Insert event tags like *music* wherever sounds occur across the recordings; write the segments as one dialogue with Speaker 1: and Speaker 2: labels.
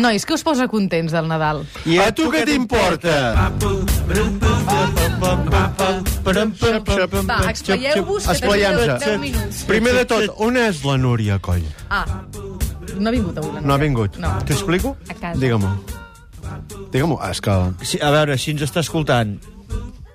Speaker 1: Nois, que us posa contents del Nadal?
Speaker 2: I a tu què t'importa?
Speaker 1: Va, explayeu-vos, que tenim 10
Speaker 2: Esplaiam-se.
Speaker 1: minuts.
Speaker 2: Primer de tot, on és la Núria Coll?
Speaker 1: Ah, no ha vingut avui la
Speaker 2: No ha vingut.
Speaker 1: No.
Speaker 2: T'ho explico?
Speaker 1: A casa.
Speaker 2: Digue-m'ho. Digue-m'ho. Ah, És que...
Speaker 3: Sí, a veure, si ens està escoltant,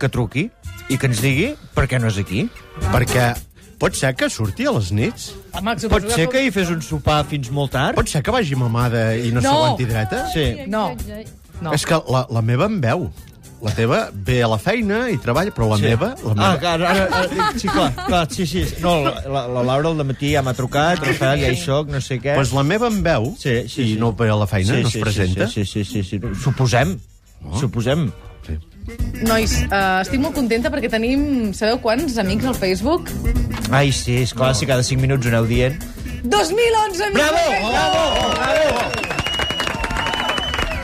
Speaker 3: que truqui i que ens digui per què no és aquí.
Speaker 2: Perquè pot ser que surti a les nits?
Speaker 1: Home, que
Speaker 3: Pot
Speaker 1: suposo
Speaker 3: ser que
Speaker 1: com-
Speaker 3: hi fes un sopar fins molt tard?
Speaker 2: Pot ser que vagi mamada i no,
Speaker 1: No.
Speaker 2: s'aguanti dreta?
Speaker 3: Sí.
Speaker 1: No, no.
Speaker 2: És que la, la meva em veu. La teva ve a la feina i treballa, però la
Speaker 3: Sí.
Speaker 2: meva... La
Speaker 3: Ah,
Speaker 2: meva...
Speaker 3: clar, ara, ara, ara, sí, clar, clar, sí, sí. No, la, la- la Laura al matí ja m'ha trucat, Rafael, ja hi soc, no sé què.
Speaker 2: Doncs la meva em veu
Speaker 3: Sí, sí,
Speaker 2: i
Speaker 3: sí.
Speaker 2: no ve a la feina, no es presenta.
Speaker 3: Sí, sí, sí, sí, sí. Suposem. Oh. Suposem.
Speaker 2: sí.
Speaker 1: Nois, eh, estic molt contenta perquè tenim, sabeu quants amics al Facebook?
Speaker 3: Ai, sí, és clar, si cada 5 minuts ho aneu dient.
Speaker 1: 2011 amics!
Speaker 3: Bravo!
Speaker 1: al
Speaker 3: Oh.
Speaker 1: Facebook!
Speaker 3: Bravo! Bravo!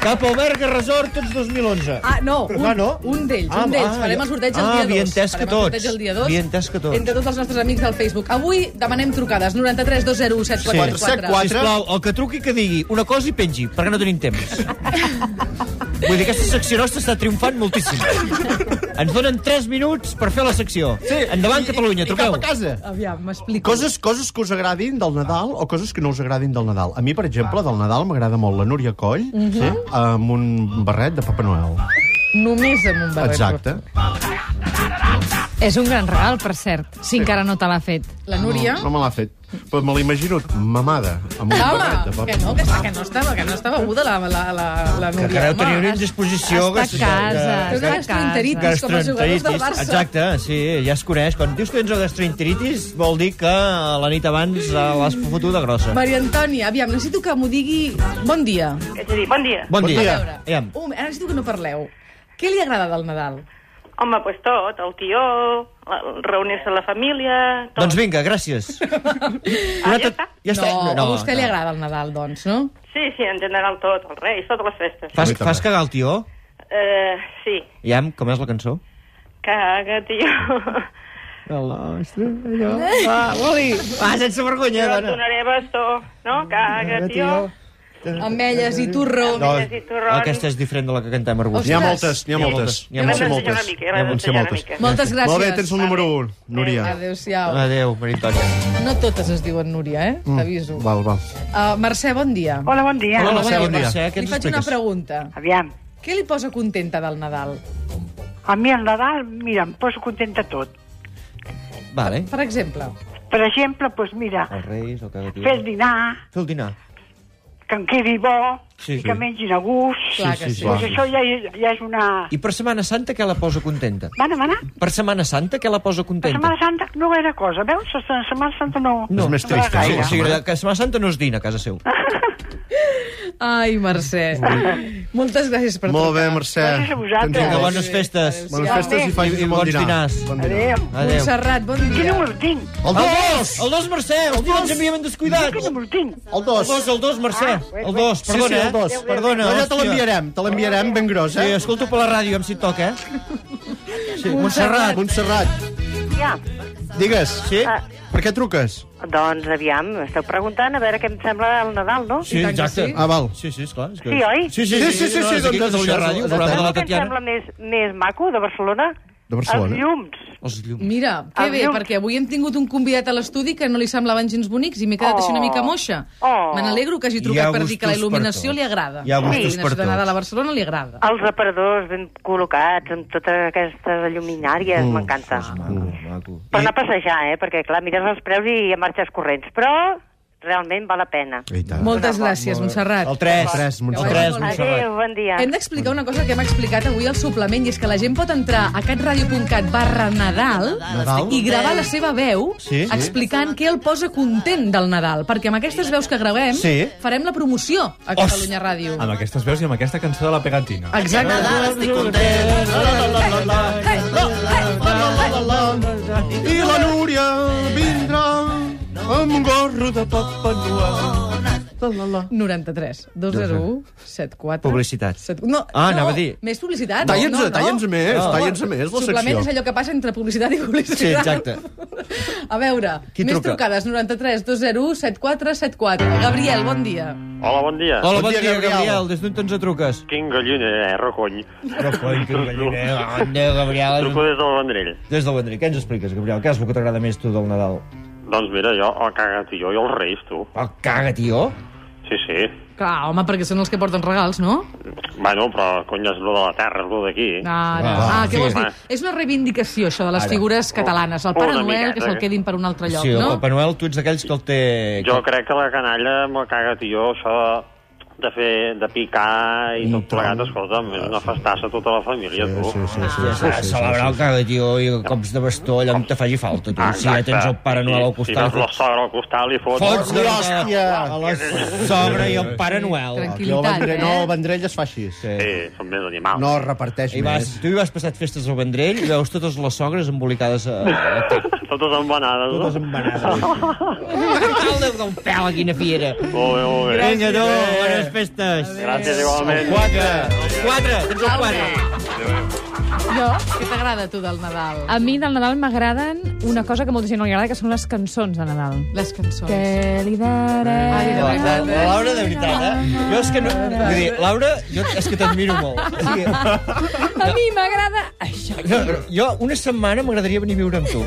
Speaker 3: Cap al Berga Resort, tots 2011.
Speaker 1: Ah, no, un,
Speaker 3: Ah, no?
Speaker 1: un d'ells,
Speaker 3: Ah,
Speaker 1: un d'ells.
Speaker 3: ah,
Speaker 1: Farem
Speaker 3: ja.
Speaker 1: el sorteig el
Speaker 3: Ah,
Speaker 1: dia 2.
Speaker 3: havia entès que
Speaker 1: Farem el sorteig
Speaker 3: tots.
Speaker 1: el dia 2.
Speaker 3: Havia entès que tots.
Speaker 1: Entre tots els nostres amics del Facebook. Avui demanem trucades. 93 201
Speaker 2: 474.
Speaker 1: 744.
Speaker 3: Sisplau, el que truqui que digui una cosa i pengi, perquè no tenim temps. Vull dir, aquesta secció nostra està triomfant moltíssim. Ens donen 3 minuts per fer la secció. Endavant, Catalunya, truqueu.
Speaker 2: I cap a casa.
Speaker 1: Aviam, m'explico.
Speaker 2: Coses, coses que us agradin del Nadal o coses que no us agradin del Nadal. A mi, per exemple, del Nadal m'agrada molt la Núria Coll
Speaker 1: Mhm.
Speaker 2: sí? amb un barret de Papa Noel.
Speaker 1: Només amb un barret.
Speaker 2: Exacte.
Speaker 4: És un gran regal, per cert, si encara no te l'ha fet.
Speaker 1: La Núria...
Speaker 2: No me l'ha fet. Però me l'imagino mamada amb un
Speaker 1: Home,
Speaker 2: barret de
Speaker 1: que
Speaker 2: Papa
Speaker 1: no, que, està- que no estava, que no estava aguda la, la, la, la Núria.
Speaker 3: Que ara
Speaker 1: home.
Speaker 3: teniu una indisposició...
Speaker 4: Està a casa,
Speaker 1: Però
Speaker 4: està a
Speaker 1: gastroenteritis.
Speaker 4: casa.
Speaker 1: com els jugadors del
Speaker 3: Gastroenteritis,
Speaker 1: Barça.
Speaker 3: exacte, sí, ja es coneix. Quan dius que tens el gastroenteritis, vol dir que la nit abans eh, l'has fotuda grossa.
Speaker 1: Maria Antònia, aviam, necessito que m'ho digui... Bon dia.
Speaker 5: És a dir, bon dia.
Speaker 3: Bon
Speaker 2: Bon
Speaker 3: dia.
Speaker 2: dia.
Speaker 1: Ara
Speaker 3: Aviam.
Speaker 1: necessito que no parleu. Què li agrada del Nadal?
Speaker 5: Home, doncs pues tot, el tió, la- reunir-se a la família... Tot.
Speaker 3: Doncs vinga,
Speaker 5: *laughs*
Speaker 3: gràcies.
Speaker 5: Ah, ja està?
Speaker 3: Ja està.
Speaker 1: No, a vostè li agrada el Nadal, doncs, no?
Speaker 5: Sí, sí, en general tot, els reis, totes les festes.
Speaker 3: Fas,
Speaker 2: A mi també.
Speaker 3: fas cagar el tió?
Speaker 5: Eh, sí,
Speaker 3: Ja, com és la cançó?
Speaker 5: caga, *laughs* tio.
Speaker 3: Va, Oli, va, Ah, sense vergonya,
Speaker 5: Jo et
Speaker 3: dona.
Speaker 5: donaré bastó, no? Mm, Caga, tio.
Speaker 1: Ametlles i torró.
Speaker 3: No,
Speaker 5: Ametlles i torrons.
Speaker 3: aquesta és diferent de la que cantem
Speaker 1: Ostres.
Speaker 2: N'hi
Speaker 3: Arbúcies.
Speaker 2: ha moltes, n'hi ha
Speaker 3: N'hi ha
Speaker 2: moltes.
Speaker 3: moltes.
Speaker 2: N'hi ha moltes,
Speaker 5: Hem
Speaker 2: moltes.
Speaker 5: d'ensenyar una mica, hem
Speaker 2: N'hi ha
Speaker 5: d'ensenyar una
Speaker 2: moltes.
Speaker 5: mica.
Speaker 1: Moltes gràcies. Eh,
Speaker 2: Molt bé, tens el número 1, Núria.
Speaker 1: Adéu-siau.
Speaker 3: Adéu, Maritònia.
Speaker 1: No totes es diuen Núria, eh? T'aviso.
Speaker 2: Val, val.
Speaker 1: Uh, Mercè, bon dia.
Speaker 6: Hola, bon dia.
Speaker 3: Hola,
Speaker 2: Mm, Mercè, bon dia.
Speaker 3: Mercè, què
Speaker 1: Li
Speaker 3: ens
Speaker 1: faig una
Speaker 3: expliques?
Speaker 1: pregunta.
Speaker 6: Aviam,
Speaker 1: Què li posa contenta del Nadal?
Speaker 6: a mi el Nadal, mira, em poso contenta tot.
Speaker 3: Vale.
Speaker 1: Per exemple,
Speaker 6: Per exemple, doncs pues mira,
Speaker 3: Els Reis, el cagatí...
Speaker 6: fer el dinar,
Speaker 3: Fer el dinar.
Speaker 6: que em quedi bo,
Speaker 3: Sí,
Speaker 6: i
Speaker 3: sí.
Speaker 6: que mengin a gust.
Speaker 1: clar que
Speaker 2: sí,
Speaker 1: sí.
Speaker 2: clar.
Speaker 6: Doncs això ja, ja és una...
Speaker 3: I per Setmana Santa què la posa contenta?
Speaker 6: Va demanar?
Speaker 3: Per Setmana Santa què la posa
Speaker 6: La
Speaker 3: contenta?
Speaker 6: Setmana Santa no gaire cosa, veus? La Setmana Santa no...
Speaker 3: No.
Speaker 2: És més
Speaker 6: no va
Speaker 2: trist,
Speaker 3: Sí,
Speaker 6: gaire.
Speaker 3: o sigui, la- que Setmana Santa no es dina a casa seu.
Speaker 5: Ah.
Speaker 1: Ai, Mercè. Moltes gràcies per
Speaker 2: Molt bé,
Speaker 1: trucar.
Speaker 2: Mercè.
Speaker 6: Gràcies a vosaltres.
Speaker 2: Tens el
Speaker 3: Vinga,
Speaker 2: gos.
Speaker 3: bones festes.
Speaker 1: Adéu-siau.
Speaker 2: Bones festes i facis
Speaker 3: I- i
Speaker 2: un bon
Speaker 3: bons
Speaker 2: dinar.
Speaker 3: dinars.
Speaker 2: Bon dinar.
Speaker 6: Adéu.
Speaker 3: Adéu.
Speaker 1: Montserrat, bon
Speaker 6: Quin
Speaker 1: dia.
Speaker 6: número tinc?
Speaker 2: El dos!
Speaker 3: El dos, Mercè! Hòstia, ens havíem descuidat!
Speaker 6: Quin número tinc?
Speaker 2: El dos! Ah,
Speaker 3: El dos, el dos, Mercè! El dos,
Speaker 2: Sí, sí,
Speaker 3: perdona,
Speaker 2: el dos.
Speaker 3: eh? Perdona,
Speaker 2: No, ja te
Speaker 3: hòstia.
Speaker 2: l'enviarem, te l'enviarem ben gros,
Speaker 3: Sí,
Speaker 2: eh?
Speaker 3: escolto per la ràdio, em si et toca, eh? Sí, Montserrat.
Speaker 2: Montserrat,
Speaker 7: Ja,
Speaker 2: digues. Ah.
Speaker 3: Sí?
Speaker 2: Per què truques?
Speaker 7: doncs aviam, esteu preguntant a veure què em sembla el Nadal, no?
Speaker 3: Sí,
Speaker 1: I tant que
Speaker 3: exacte.
Speaker 1: sí.
Speaker 2: Ah, val.
Speaker 3: Sí, sí, esclar. És que...
Speaker 7: Sí, oi?
Speaker 3: Sí, sí, sí,
Speaker 2: Sí, sí, sí,
Speaker 3: no,
Speaker 2: sí,
Speaker 3: és aquí
Speaker 2: doncs,
Speaker 3: Catalunya
Speaker 2: doncs,
Speaker 3: Ràdio,
Speaker 2: doncs,
Speaker 3: el programa de la
Speaker 7: Saps què em sembla
Speaker 3: Tatiana.
Speaker 7: més, més maco de Barcelona?
Speaker 2: De Barcelona.
Speaker 7: Els llums.
Speaker 3: Els llums.
Speaker 1: Mira, que bé,
Speaker 7: Aviam.
Speaker 1: perquè avui hem tingut un convidat a l'estudi que no li semblaven gens bonics i m'he quedat
Speaker 7: Oh.
Speaker 1: així una mica moixa.
Speaker 7: Oh.
Speaker 1: Me n'alegro que hagi
Speaker 3: Hi ha
Speaker 1: trucat per dir que la
Speaker 3: gustos per
Speaker 1: il·luminació
Speaker 3: tot.
Speaker 1: li agrada.
Speaker 3: Hi ha
Speaker 1: La
Speaker 3: gustos
Speaker 1: il·luminació
Speaker 3: per
Speaker 1: de Nadal
Speaker 3: tot.
Speaker 1: a Barcelona li agrada.
Speaker 7: Els aparadors ben col·locats, amb totes aquestes lluminàries, m'encanta.
Speaker 3: Maco, maco.
Speaker 7: Per anar a passejar, eh? Perquè, clar, mires els preus i ja marxes corrents. Però realment val la pena.
Speaker 2: I tant.
Speaker 1: Moltes gràcies, Montserrat.
Speaker 3: El 3.
Speaker 2: El tres, Montserrat.
Speaker 3: El 3,
Speaker 7: Adéu,
Speaker 3: Montserrat.
Speaker 7: bon dia.
Speaker 1: Hem d'explicar una cosa que hem explicat avui al suplement, i és que la gent pot entrar a catradio.cat barra Nadal
Speaker 2: Nadal?
Speaker 1: i gravar la seva veu
Speaker 3: Sí.
Speaker 1: explicant què el posa content del Nadal. Perquè amb aquestes veus que gravem
Speaker 3: Sí.
Speaker 1: farem la promoció a Catalunya Ràdio.
Speaker 8: Amb aquestes veus i amb aquesta cançó de la pegatina.
Speaker 1: Exacte. oh,
Speaker 2: I la Núria vindrà amb un gorro de Papa Noel. La, la, la.
Speaker 1: 93 201 74
Speaker 3: Publicitat.
Speaker 1: Set... No,
Speaker 3: Ah,
Speaker 1: no,
Speaker 3: anava a dir.
Speaker 1: Més publicitat.
Speaker 2: Talla'ns-
Speaker 1: no, no, no.
Speaker 2: talla'ns més,
Speaker 1: no.
Speaker 2: talla'ns més, la
Speaker 1: Suplement
Speaker 2: secció.
Speaker 1: és allò que passa entre publicitat i publicitat.
Speaker 3: Sí, exacte.
Speaker 1: A veure,
Speaker 3: Qui
Speaker 1: més
Speaker 3: truca?
Speaker 1: trucades, 93 201 7474. Gabriel, bon dia.
Speaker 9: Hola, bon dia.
Speaker 3: Hola, bon
Speaker 2: dia,
Speaker 3: dia,
Speaker 2: Gabriel.
Speaker 3: Gabriel. Des d'on ens truques?
Speaker 9: Quin eh? gallinero, cony.
Speaker 3: No, coi, que
Speaker 9: *laughs*
Speaker 3: galliner.
Speaker 2: oh,
Speaker 3: Bon dia,
Speaker 9: Truco
Speaker 3: Gabriel.
Speaker 9: des del Vendrell.
Speaker 3: Des del Vendrell. Què ens expliques, Gabriel? Què és el que t'agrada més tu del Nadal?
Speaker 9: Doncs mira, jo, el cagat i jo, i els reis, tu.
Speaker 3: Oh, caga, tio.
Speaker 9: Sí, sí.
Speaker 1: Clar, home, perquè són els que porten regals, no?
Speaker 9: Bueno, però, cony, és lo de la terra, és lo d'aquí.
Speaker 1: No, no.
Speaker 3: Ah,
Speaker 1: Ah, què
Speaker 3: sí.
Speaker 1: vols dir? És una reivindicació, això, de les
Speaker 3: Ara.
Speaker 1: figures catalanes. El
Speaker 9: Una
Speaker 1: Pare Noel,
Speaker 9: miqueta,
Speaker 1: que se'l
Speaker 9: eh?
Speaker 1: quedin per un altre lloc,
Speaker 3: sí, el
Speaker 1: no?
Speaker 3: Papa Noel, tu ets d'aquells que el té...
Speaker 9: Jo crec que la canalla amb el cagat i jo, això de fer, de picar i
Speaker 2: I
Speaker 9: tot
Speaker 2: tant.
Speaker 9: plegat, escolta'm, és una festassa a tota la família, tu.
Speaker 2: Sí, sí, sí,
Speaker 3: Ah,
Speaker 2: sí, sí, sí,
Speaker 3: celebrar
Speaker 2: sí,
Speaker 3: el caga, tio, i cops de bastó allà on te faci falta, tu. Si ja tens el Pare Noel al
Speaker 9: Si tens
Speaker 3: costat...
Speaker 9: la sogra al costat, li fots...
Speaker 3: Fots de
Speaker 2: Hòstia!
Speaker 3: a la sogra i el Pare Noel.
Speaker 1: Tranquil.
Speaker 2: Aquí el Vendrell,
Speaker 1: Quilitat,
Speaker 2: no,
Speaker 1: eh?
Speaker 2: el Vendrell es fa així. Sí.
Speaker 9: Sí, són més animals.
Speaker 2: No, reparteix
Speaker 3: I vas,
Speaker 2: més.
Speaker 3: tu hi vas passat festes al Vendrell i veus totes les sogres embolicades a, a tot,
Speaker 9: *laughs* Totes embanades,
Speaker 3: totes
Speaker 9: no?
Speaker 3: embanades. Cal del pèl, quina fiera. eh.
Speaker 9: Molt bé, molt bé.
Speaker 3: Vinga, tu, bones festes.
Speaker 9: Gràcies, igualment.
Speaker 3: 4, 4, tens el 4.
Speaker 1: Jo? Què t'agrada, tu, del Nadal?
Speaker 4: A mi del Nadal m'agraden una cosa que a molta gent no li agrada, que són les cançons de Nadal.
Speaker 1: Les
Speaker 3: Doncs.
Speaker 1: cançons.
Speaker 4: Que li daré...
Speaker 1: Ai,
Speaker 3: La, la Laura, de veritat, eh? Jo és que no... Vull dir, Laura, jo és que t'admiro molt. O sigui, *laughs*
Speaker 4: A mi m'agrada això.
Speaker 3: no, jo una setmana m'agradaria venir a viure amb tu.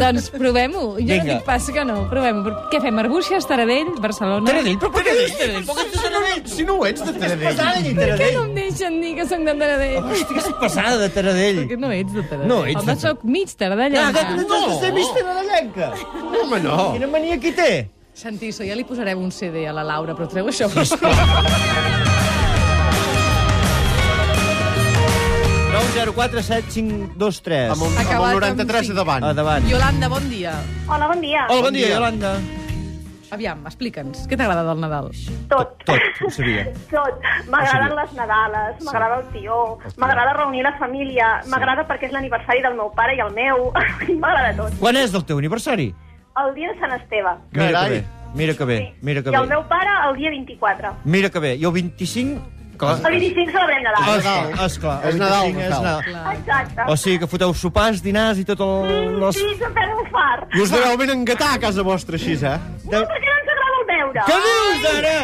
Speaker 4: Doncs provem-ho. Jo
Speaker 3: Vinga.
Speaker 4: no dic pas que no, provem-ho. Però Què fem, Arbuixes, Taradell, Barcelona?
Speaker 3: Taradell, però per què dius Taradell? Però que
Speaker 2: Si no ho ets, de
Speaker 3: ets
Speaker 2: Taradell.
Speaker 3: passada de
Speaker 4: Per què
Speaker 3: Taradell.
Speaker 4: no em deixen dir que sóc de Taradell?
Speaker 3: Hosti, que ets passada de Taradell.
Speaker 1: Que no ets de Taradell.
Speaker 3: No, ets
Speaker 4: Home,
Speaker 3: de Ah,
Speaker 4: sóc mig tardellenca.
Speaker 3: no, no. ser vista nadalenca.
Speaker 2: Home, no.
Speaker 3: Quina mania que té.
Speaker 1: Santiso, ja li posarem un CD a la Laura, però treu això.
Speaker 3: Sí, sisplau. 904 7523.
Speaker 2: Amb el, amb el
Speaker 1: Acabat amb
Speaker 2: 93
Speaker 1: cinc.
Speaker 2: a davant.
Speaker 3: A davant.
Speaker 1: Iolanda, bon dia.
Speaker 5: Hola, bon dia.
Speaker 3: Hola, bon dia, Iolanda.
Speaker 1: Aviam, explica'ns, què t'agrada del Nadal?
Speaker 5: Tot.
Speaker 3: Tot, ho sabia.
Speaker 5: Tot. M'agraden les Nadales, m'agrada el tió, m'agrada reunir la família, m'agrada perquè és l'aniversari del meu pare i el meu. *laughs* m'agrada tot.
Speaker 3: Quan és el teu aniversari?
Speaker 5: El dia de Sant Esteve.
Speaker 3: Mira que
Speaker 2: Carai.
Speaker 3: bé, mira que bé, mira que
Speaker 5: I el
Speaker 3: bé.
Speaker 5: meu pare el dia 24.
Speaker 3: Mira que bé. I el 25... Clar.
Speaker 5: El 25 celebrem Nadal.
Speaker 3: Esclar, esclar.
Speaker 2: És Nadal,
Speaker 3: és
Speaker 2: Nadal.
Speaker 3: Nadal.
Speaker 5: Exacte.
Speaker 3: O sigui que foteu sopars, dinars i tot el...
Speaker 5: Sí,
Speaker 3: Les...
Speaker 5: sí, se'n fem un fart.
Speaker 2: I us deveu ben engatar a casa vostra, així, eh?
Speaker 5: No, perquè no ens agrada el veure.
Speaker 3: Què dius, ara?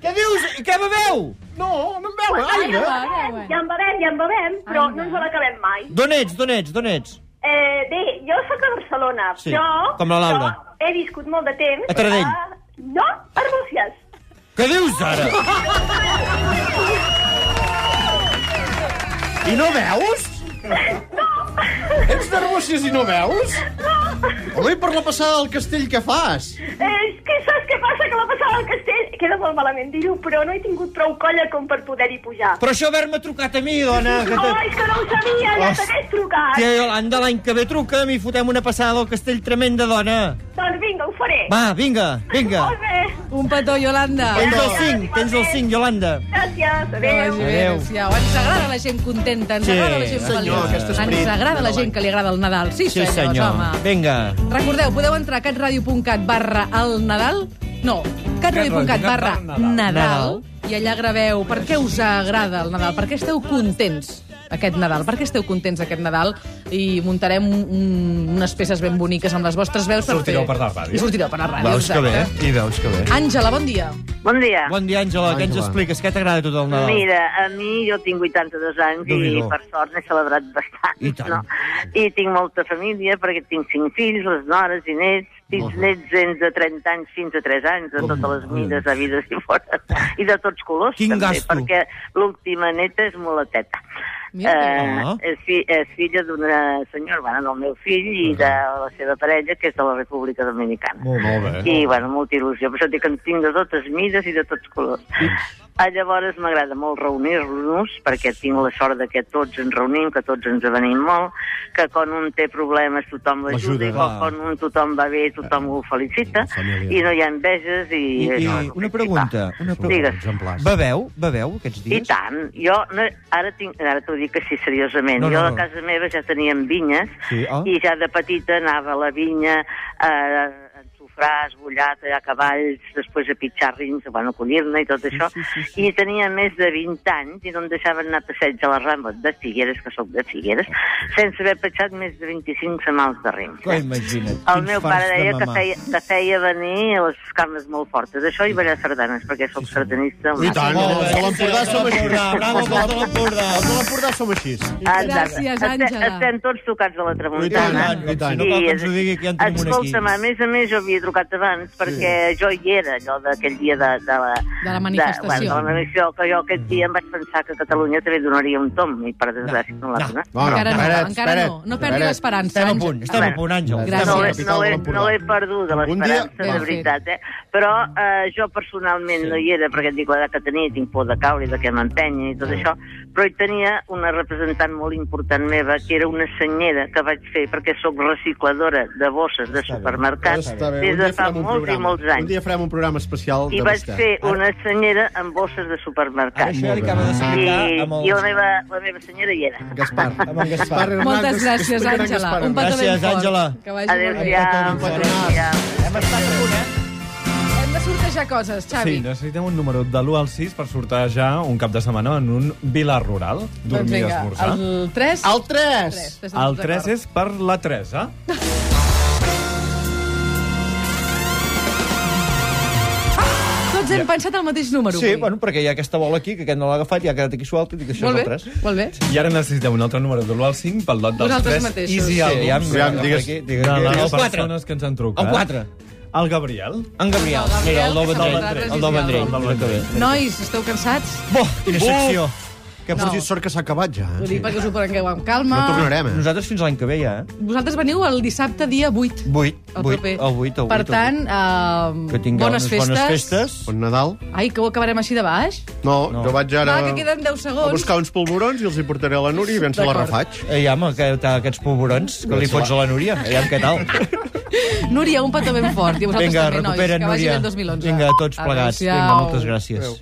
Speaker 3: Què dius? I què beveu?
Speaker 2: No, no em veu,
Speaker 5: Ai,
Speaker 2: aire.
Speaker 5: ja en bevem, ja en bevem, ja en bevem, però no ens l'acabem mai.
Speaker 3: D'on ets, d'on ets, d'on ets?
Speaker 5: Eh, bé, jo sóc de Barcelona,
Speaker 3: Sí,
Speaker 5: però...
Speaker 3: com la Laura.
Speaker 5: Jo he viscut molt de temps...
Speaker 3: A Taradell.
Speaker 5: A... No, a Arbúcies.
Speaker 3: Què dius, ara?
Speaker 2: I no veus? Ets d'Arbúcies i no veus? Home, i per la passada del castell què fas?
Speaker 5: Eh, és que saps què passa? Que la passada al castell... Queda molt malament dir-ho, però no he tingut prou colla com per poder-hi pujar.
Speaker 3: Però això haver-me trucat a mi, dona. Que te...
Speaker 5: Ai, que no ho sabia, ja t'hagués trucat.
Speaker 3: Tia Iolanda, l'any que ve truca'm i fotem una passada al castell tremenda, dona.
Speaker 5: Doncs vinga, ho faré.
Speaker 3: Va, vinga, vinga.
Speaker 5: Molt bé,
Speaker 1: Un petó, Iolanda.
Speaker 3: Tens el 5, tens el 5, Iolanda.
Speaker 5: gràcies, adéu.
Speaker 3: Adéu.
Speaker 1: Adéu. Ens agrada la gent contenta, ens
Speaker 3: Sí,
Speaker 1: agrada la gent
Speaker 3: senyor, aquest
Speaker 1: feliç.
Speaker 2: esperit
Speaker 1: Ens agrada la gent que li agrada el Nadal. Sí,
Speaker 3: Sí,
Speaker 1: senyors,
Speaker 3: senyor.
Speaker 1: home.
Speaker 3: Vinga.
Speaker 1: Recordeu, podeu entrar a catradio.cat barra el Nadal. No, catradio.cat barra Nadal.
Speaker 3: Nadal.
Speaker 1: I allà graveu per què us agrada el Nadal, per què esteu contents aquest Nadal, per què esteu contents aquest Nadal i muntarem un, un, unes peces ben boniques amb les vostres veus. Per
Speaker 8: Sortireu
Speaker 1: fer-
Speaker 8: per la ràdio.
Speaker 1: I sortireu per la ràdio,
Speaker 3: Veus que bé, eh?
Speaker 1: exacte.
Speaker 3: i veus que bé.
Speaker 1: Àngela, bon dia.
Speaker 7: Bon dia.
Speaker 3: Bon dia, Àngela, què ens
Speaker 2: Àngela.
Speaker 3: expliques? Què t'agrada tot el Nadal?
Speaker 7: Doncs Mira, a mi jo tinc 82 anys i
Speaker 3: Déu-n'hi-do.
Speaker 7: per sort n'he celebrat bastant.
Speaker 3: I tant.
Speaker 7: No? I tinc molta família perquè tinc cinc fills, les nores i nets, fills nets entre 30 anys fins a 3 anys, de totes les mides, a vides i fora, i de tots colors
Speaker 3: Quin
Speaker 7: també,
Speaker 3: gasto.
Speaker 7: perquè l'última neta és mulateta.
Speaker 1: Mira,
Speaker 3: Ah.
Speaker 7: és, fi, és filla d'una senyora, bueno, del meu fill i de la seva parella, que és de la República Dominicana.
Speaker 3: Molt, molt bé.
Speaker 7: I, bueno, molta il·lusió. Per això dic que en tinc de totes mides i de tots colors. Ah, llavors m'agrada molt reunir-nos, perquè tinc la sort de que tots ens reunim, que tots ens avenim molt, que quan un té problemes tothom l'ajuda, i
Speaker 3: L'ajuda,
Speaker 7: quan,
Speaker 3: clar. Eh,
Speaker 7: quan un tothom va bé tothom ho felicita,
Speaker 2: família.
Speaker 7: i no hi ha enveges. I,
Speaker 3: I, i
Speaker 7: no, no,
Speaker 3: una
Speaker 7: sí,
Speaker 3: pregunta,
Speaker 7: va.
Speaker 3: una pregunta.
Speaker 7: Digues.
Speaker 2: Exemplars.
Speaker 3: Beveu, beveu aquests
Speaker 7: I
Speaker 3: dies?
Speaker 7: tant. Jo no, ara tinc, ara t'ho dic així seriosament.
Speaker 3: No, no,
Speaker 7: jo a
Speaker 3: no.
Speaker 7: casa meva ja teníem vinyes
Speaker 3: Sí, ah.
Speaker 7: i ja de petita anava a la vinya eh, a
Speaker 5: sofràs, bullar, tallar cavalls, després a pitjar rins, bueno, collir-ne i tot això. Sí, sí, sí. I tenia més de 20 anys i no em deixaven anar a passeig a la Rambla de Figueres, que sóc de Figueres, sense haver petjat més de 25 setmals de rins.
Speaker 3: Coi, imagina't.
Speaker 5: El
Speaker 3: quins
Speaker 5: meu
Speaker 3: farts
Speaker 5: pare
Speaker 3: de
Speaker 5: deia que
Speaker 3: mamar.
Speaker 5: feia, que feia venir les cames molt fortes. Això i ballar sardanes, perquè sóc sardanista.
Speaker 2: I tant,
Speaker 3: Molt bé.
Speaker 2: els de l'Empordà som així.
Speaker 3: Bravo,
Speaker 2: Els de
Speaker 3: bravo, l'Empordà.
Speaker 2: Els de l'Empordà som així.
Speaker 5: Exacte.
Speaker 1: Gràcies,
Speaker 5: Estem-
Speaker 1: Àngela.
Speaker 5: Estem tots tocats de la
Speaker 2: I
Speaker 5: tramuntana.
Speaker 2: tant, i tant.
Speaker 3: No cal que ens ho digui, que ja en tenim un aquí.
Speaker 5: Escolta'm, a més a més, jo havia trucat abans perquè jo hi era, allò d'aquell dia de, de la...
Speaker 1: De la manifestació.
Speaker 5: De, bueno, de la manifestació, que jo
Speaker 3: Mm.
Speaker 5: aquest dia em vaig pensar que Catalunya també donaria un tom, i per desgràcia no, l'ha donat.
Speaker 2: No, no,
Speaker 1: encara no,
Speaker 2: espera't,
Speaker 1: encara
Speaker 2: espera't,
Speaker 1: no. No
Speaker 2: espera't.
Speaker 1: perdi l'esperança.
Speaker 3: Estem a
Speaker 1: Àngel.
Speaker 3: punt, estem a punt, Àngel.
Speaker 1: Gràcies.
Speaker 5: No,
Speaker 1: la
Speaker 5: l'he-
Speaker 2: capital de
Speaker 5: no, l'he-
Speaker 2: l'Empordà.
Speaker 5: no l'he perduda,
Speaker 2: Algun dia-
Speaker 5: l'esperança,
Speaker 1: Ben
Speaker 5: de
Speaker 1: fet.
Speaker 5: veritat, eh? Però eh, jo personalment no hi era, perquè et dic l'edat que tenia, tinc por de caure i de que m'empenyi i tot això, però hi tenia una representant molt important meva, que era una senyera que vaig fer, perquè sóc recicladora de bosses de supermercat
Speaker 2: Està bé,
Speaker 5: des
Speaker 2: un dia
Speaker 5: de fa
Speaker 2: farem un
Speaker 5: molts i
Speaker 2: programa.
Speaker 5: molts
Speaker 2: Un
Speaker 5: anys.
Speaker 2: dia farem un programa especial
Speaker 5: I
Speaker 2: de
Speaker 5: vaig
Speaker 2: vostè.
Speaker 5: fer una senyera amb bosses de supermercat.
Speaker 3: Ara això ja li acaba
Speaker 5: I,
Speaker 3: d'explicar amb el...
Speaker 5: i la, meva, la meva senyera hi era.
Speaker 2: Gaspar.
Speaker 3: Amb en Gaspar.
Speaker 1: Moltes
Speaker 5: doncs,
Speaker 1: gràcies, Àngela. Un petó ben
Speaker 3: Gràcies,
Speaker 1: fort.
Speaker 3: Àngela.
Speaker 1: Que vagi molt bé.
Speaker 2: Bon
Speaker 5: Adéu-siau. bon dia.
Speaker 3: Hem estat a punt, eh?
Speaker 1: Hem de sortejar coses, Xavi.
Speaker 10: Sí, necessitem un número de l'1 al 6 per sortejar un cap de setmana en un vila rural,
Speaker 1: doncs
Speaker 10: dormir i
Speaker 1: vinga,
Speaker 10: esmorzar.
Speaker 1: el 3...
Speaker 2: El 3.
Speaker 10: El 3 és per la Teresa.
Speaker 1: Tots hem pensat el mateix número.
Speaker 3: Sí,
Speaker 1: avui.
Speaker 3: bueno, perquè hi ha aquesta bola aquí, que aquest no l'ha agafat, i ha quedat aquí suelta, i dic, això
Speaker 1: molt
Speaker 3: és
Speaker 1: bé,
Speaker 3: el 3.
Speaker 1: molt bé.
Speaker 10: I ara necessitem un altre número de l'1 al 5 pel lot dels
Speaker 1: Vosaltres
Speaker 10: 3
Speaker 1: mateixos.
Speaker 10: Easy
Speaker 1: Sí,
Speaker 10: Albums.
Speaker 3: ja em-
Speaker 10: de
Speaker 2: Ja em digues...
Speaker 3: Aquí, digues-
Speaker 10: les
Speaker 3: digues- El quatre.
Speaker 10: persones que ens han trucat.
Speaker 3: El quatre.
Speaker 10: El Gabriel.
Speaker 3: En Gabriel.
Speaker 1: El Gabriel,
Speaker 3: Mira, el del
Speaker 1: que
Speaker 3: Vendrell.
Speaker 1: s'ha entrat
Speaker 3: El del Vendrell.
Speaker 1: residencial.
Speaker 3: Exactament.
Speaker 1: Nois, esteu cansats?
Speaker 3: Bo, quina secció.
Speaker 2: Que
Speaker 1: No.
Speaker 2: no. sort que s'ha acabat ja.
Speaker 1: Ho
Speaker 2: Sí.
Speaker 1: dic perquè us ho prengueu amb
Speaker 2: No
Speaker 1: calma.
Speaker 2: tornarem, eh?
Speaker 3: Nosaltres fins l'any que ve ja, eh?
Speaker 1: Vosaltres veniu el dissabte dia 8.
Speaker 3: 8,
Speaker 1: El
Speaker 3: 8,
Speaker 1: proper.
Speaker 3: el 8, el 8.
Speaker 1: per tant, eh,
Speaker 3: oh, que tingueu
Speaker 1: bones,
Speaker 3: unes
Speaker 1: festes.
Speaker 3: bones festes.
Speaker 2: Bon Nadal?
Speaker 1: Ai, que ho acabarem així de baix?
Speaker 2: No,
Speaker 3: No.
Speaker 2: no. jo vaig ara
Speaker 1: Va, que queden 10
Speaker 2: a
Speaker 1: segons.
Speaker 2: buscar uns polvorons i els hi portaré a la Núria i ben se la
Speaker 1: D'acord.
Speaker 2: refaig.
Speaker 3: Ei, Eh, home, que t'ha aquests polvorons que
Speaker 10: Doncs
Speaker 3: li fots a la Núria. Aviam
Speaker 1: *laughs*
Speaker 3: què tal.
Speaker 1: Núria, un petó ben fort. I vosaltres
Speaker 3: Vinga,
Speaker 1: també, nois,
Speaker 3: recupera't,
Speaker 1: que vagi bé
Speaker 3: Núria.
Speaker 1: el 2011.
Speaker 3: Vinga, a tots plegats. Vinga,
Speaker 1: Adéu-siau.
Speaker 3: moltes gràcies.
Speaker 2: Adéu.